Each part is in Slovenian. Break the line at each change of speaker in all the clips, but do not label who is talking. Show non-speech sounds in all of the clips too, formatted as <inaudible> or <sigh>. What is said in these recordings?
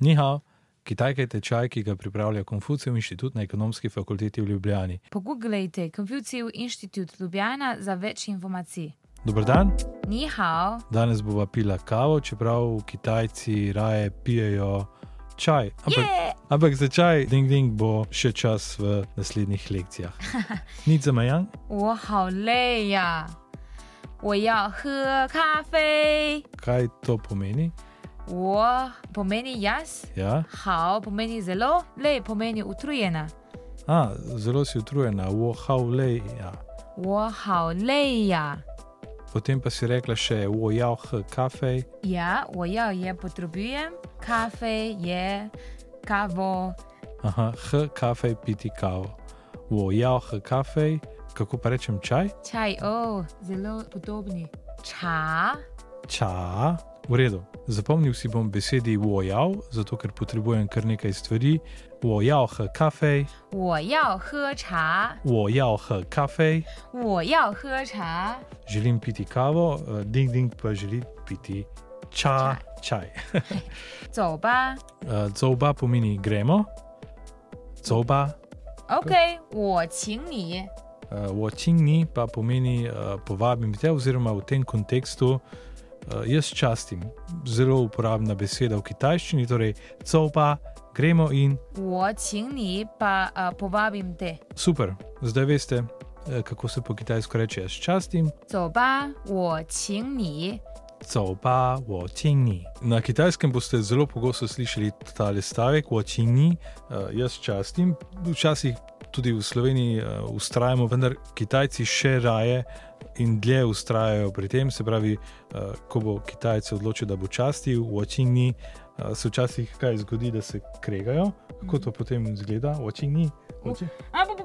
Nihao, kitajke tečaj, ki ga pripravlja Konfucijev inštitut na ekonomski fakulteti v Ljubljani.
Pogooglejte Confucius Institute Ljubljana za več informacij.
Dobr dan,
Ni hao,
danes bova pila kavo, čeprav Kitajci raje pijejo čaj. Ampak,
je,
ampak za čaj, ding ding, bo še čas v naslednjih lekcijah. Nič za majan,
我好累呀、我要喝咖啡。
kaj to pomeni?
我 pomeni jaz,
Ja?
hao pomeni zelo, lej pomeni utrujena.
A, zelo si utrujena, wohaulej. Ja.
我好累呀、
Potem pa si rekla še wojah, kafej.
Ja, 我要也 potrebujem, kafe je kavo.
Aha, h, kafej, piti kavo. Wojah, kafej, kako pa rečem čaj?
Čaj, oh, zelo podobni. Ča,
Ča. V redu, zapomnil si bom besedi wojav, zato ker potrebujem kar nekaj stvari. Wojah, kafej,
我要喝茶，
wojah, kafej.
我要喝茶。
Želim piti kavo, eh, ding ding pa želi piti ča, čaj.
走吧
Eh, Zauba pomeni gremo, zauba.
，OK，我请你。
Watchingni eh, pa pomeni uh, povabim te, oziroma v tem kontekstu uh, jaz častim. Zelo uporabna beseda v kitajščini, torej copa, gremo in
我请你把呃 povabim te。
super. Zdaj veste, eh, kako se po kitajsko reče jaz častim.
走吧，我请你。
Copa, watchingni. Na kitajskem boste zelo pogosto slišali ta stavek, watchingni, uh, jaz častim. Včasih tudi v Sloveniji uh, ustrajamo, vendar Kitajci še raje in dlje ustrajajo pri tem. Se pravi, uh, ko bo Kitajec se odločil, da bo častil, watchingni, uh, se včasih kaj zgodi, da se kregajo. Kako to potem izgleda, watchingni?
啊不不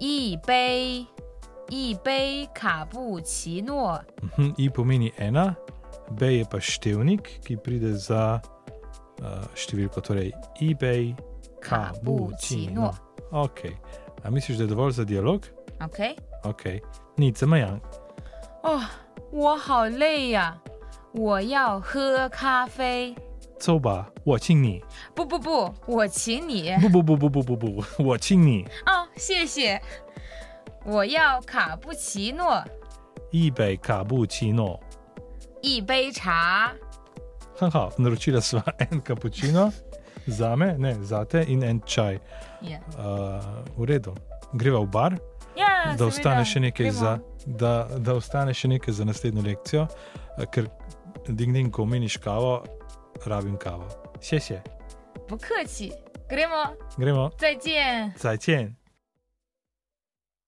一杯一杯卡布奇诺，
Mhm, I pomeni ena, B je pa števnik, ki pride za uh, številko, torej eBay, cappuccino.
Cappuccino.
Ok, a misliš, da je dovolj za dialog?
OK。
Ok, nič, samo jan.
哦，我好累呀、我要喝咖啡。
Coba, watching ni.
不不不，我请你
不不不不不不不，我请你
哦，谢谢。我要卡布奇诺，
一杯卡布奇诺。
一杯茶，
很好，naročila sva <laughs> en cappuccino za me, ne za te in en čaj.
Yeah.
Uh, v redu, greva v bar,
Ja,
da
seveda,
ostane še nekaj
gremo.
za, da, da ostane še nekaj za naslednjo lekcijo, eh, ker ding ding, ko omeniš kavo, rabim kavo. Še še,
不客气，Gremo，
gremo,
再见。
zajčen.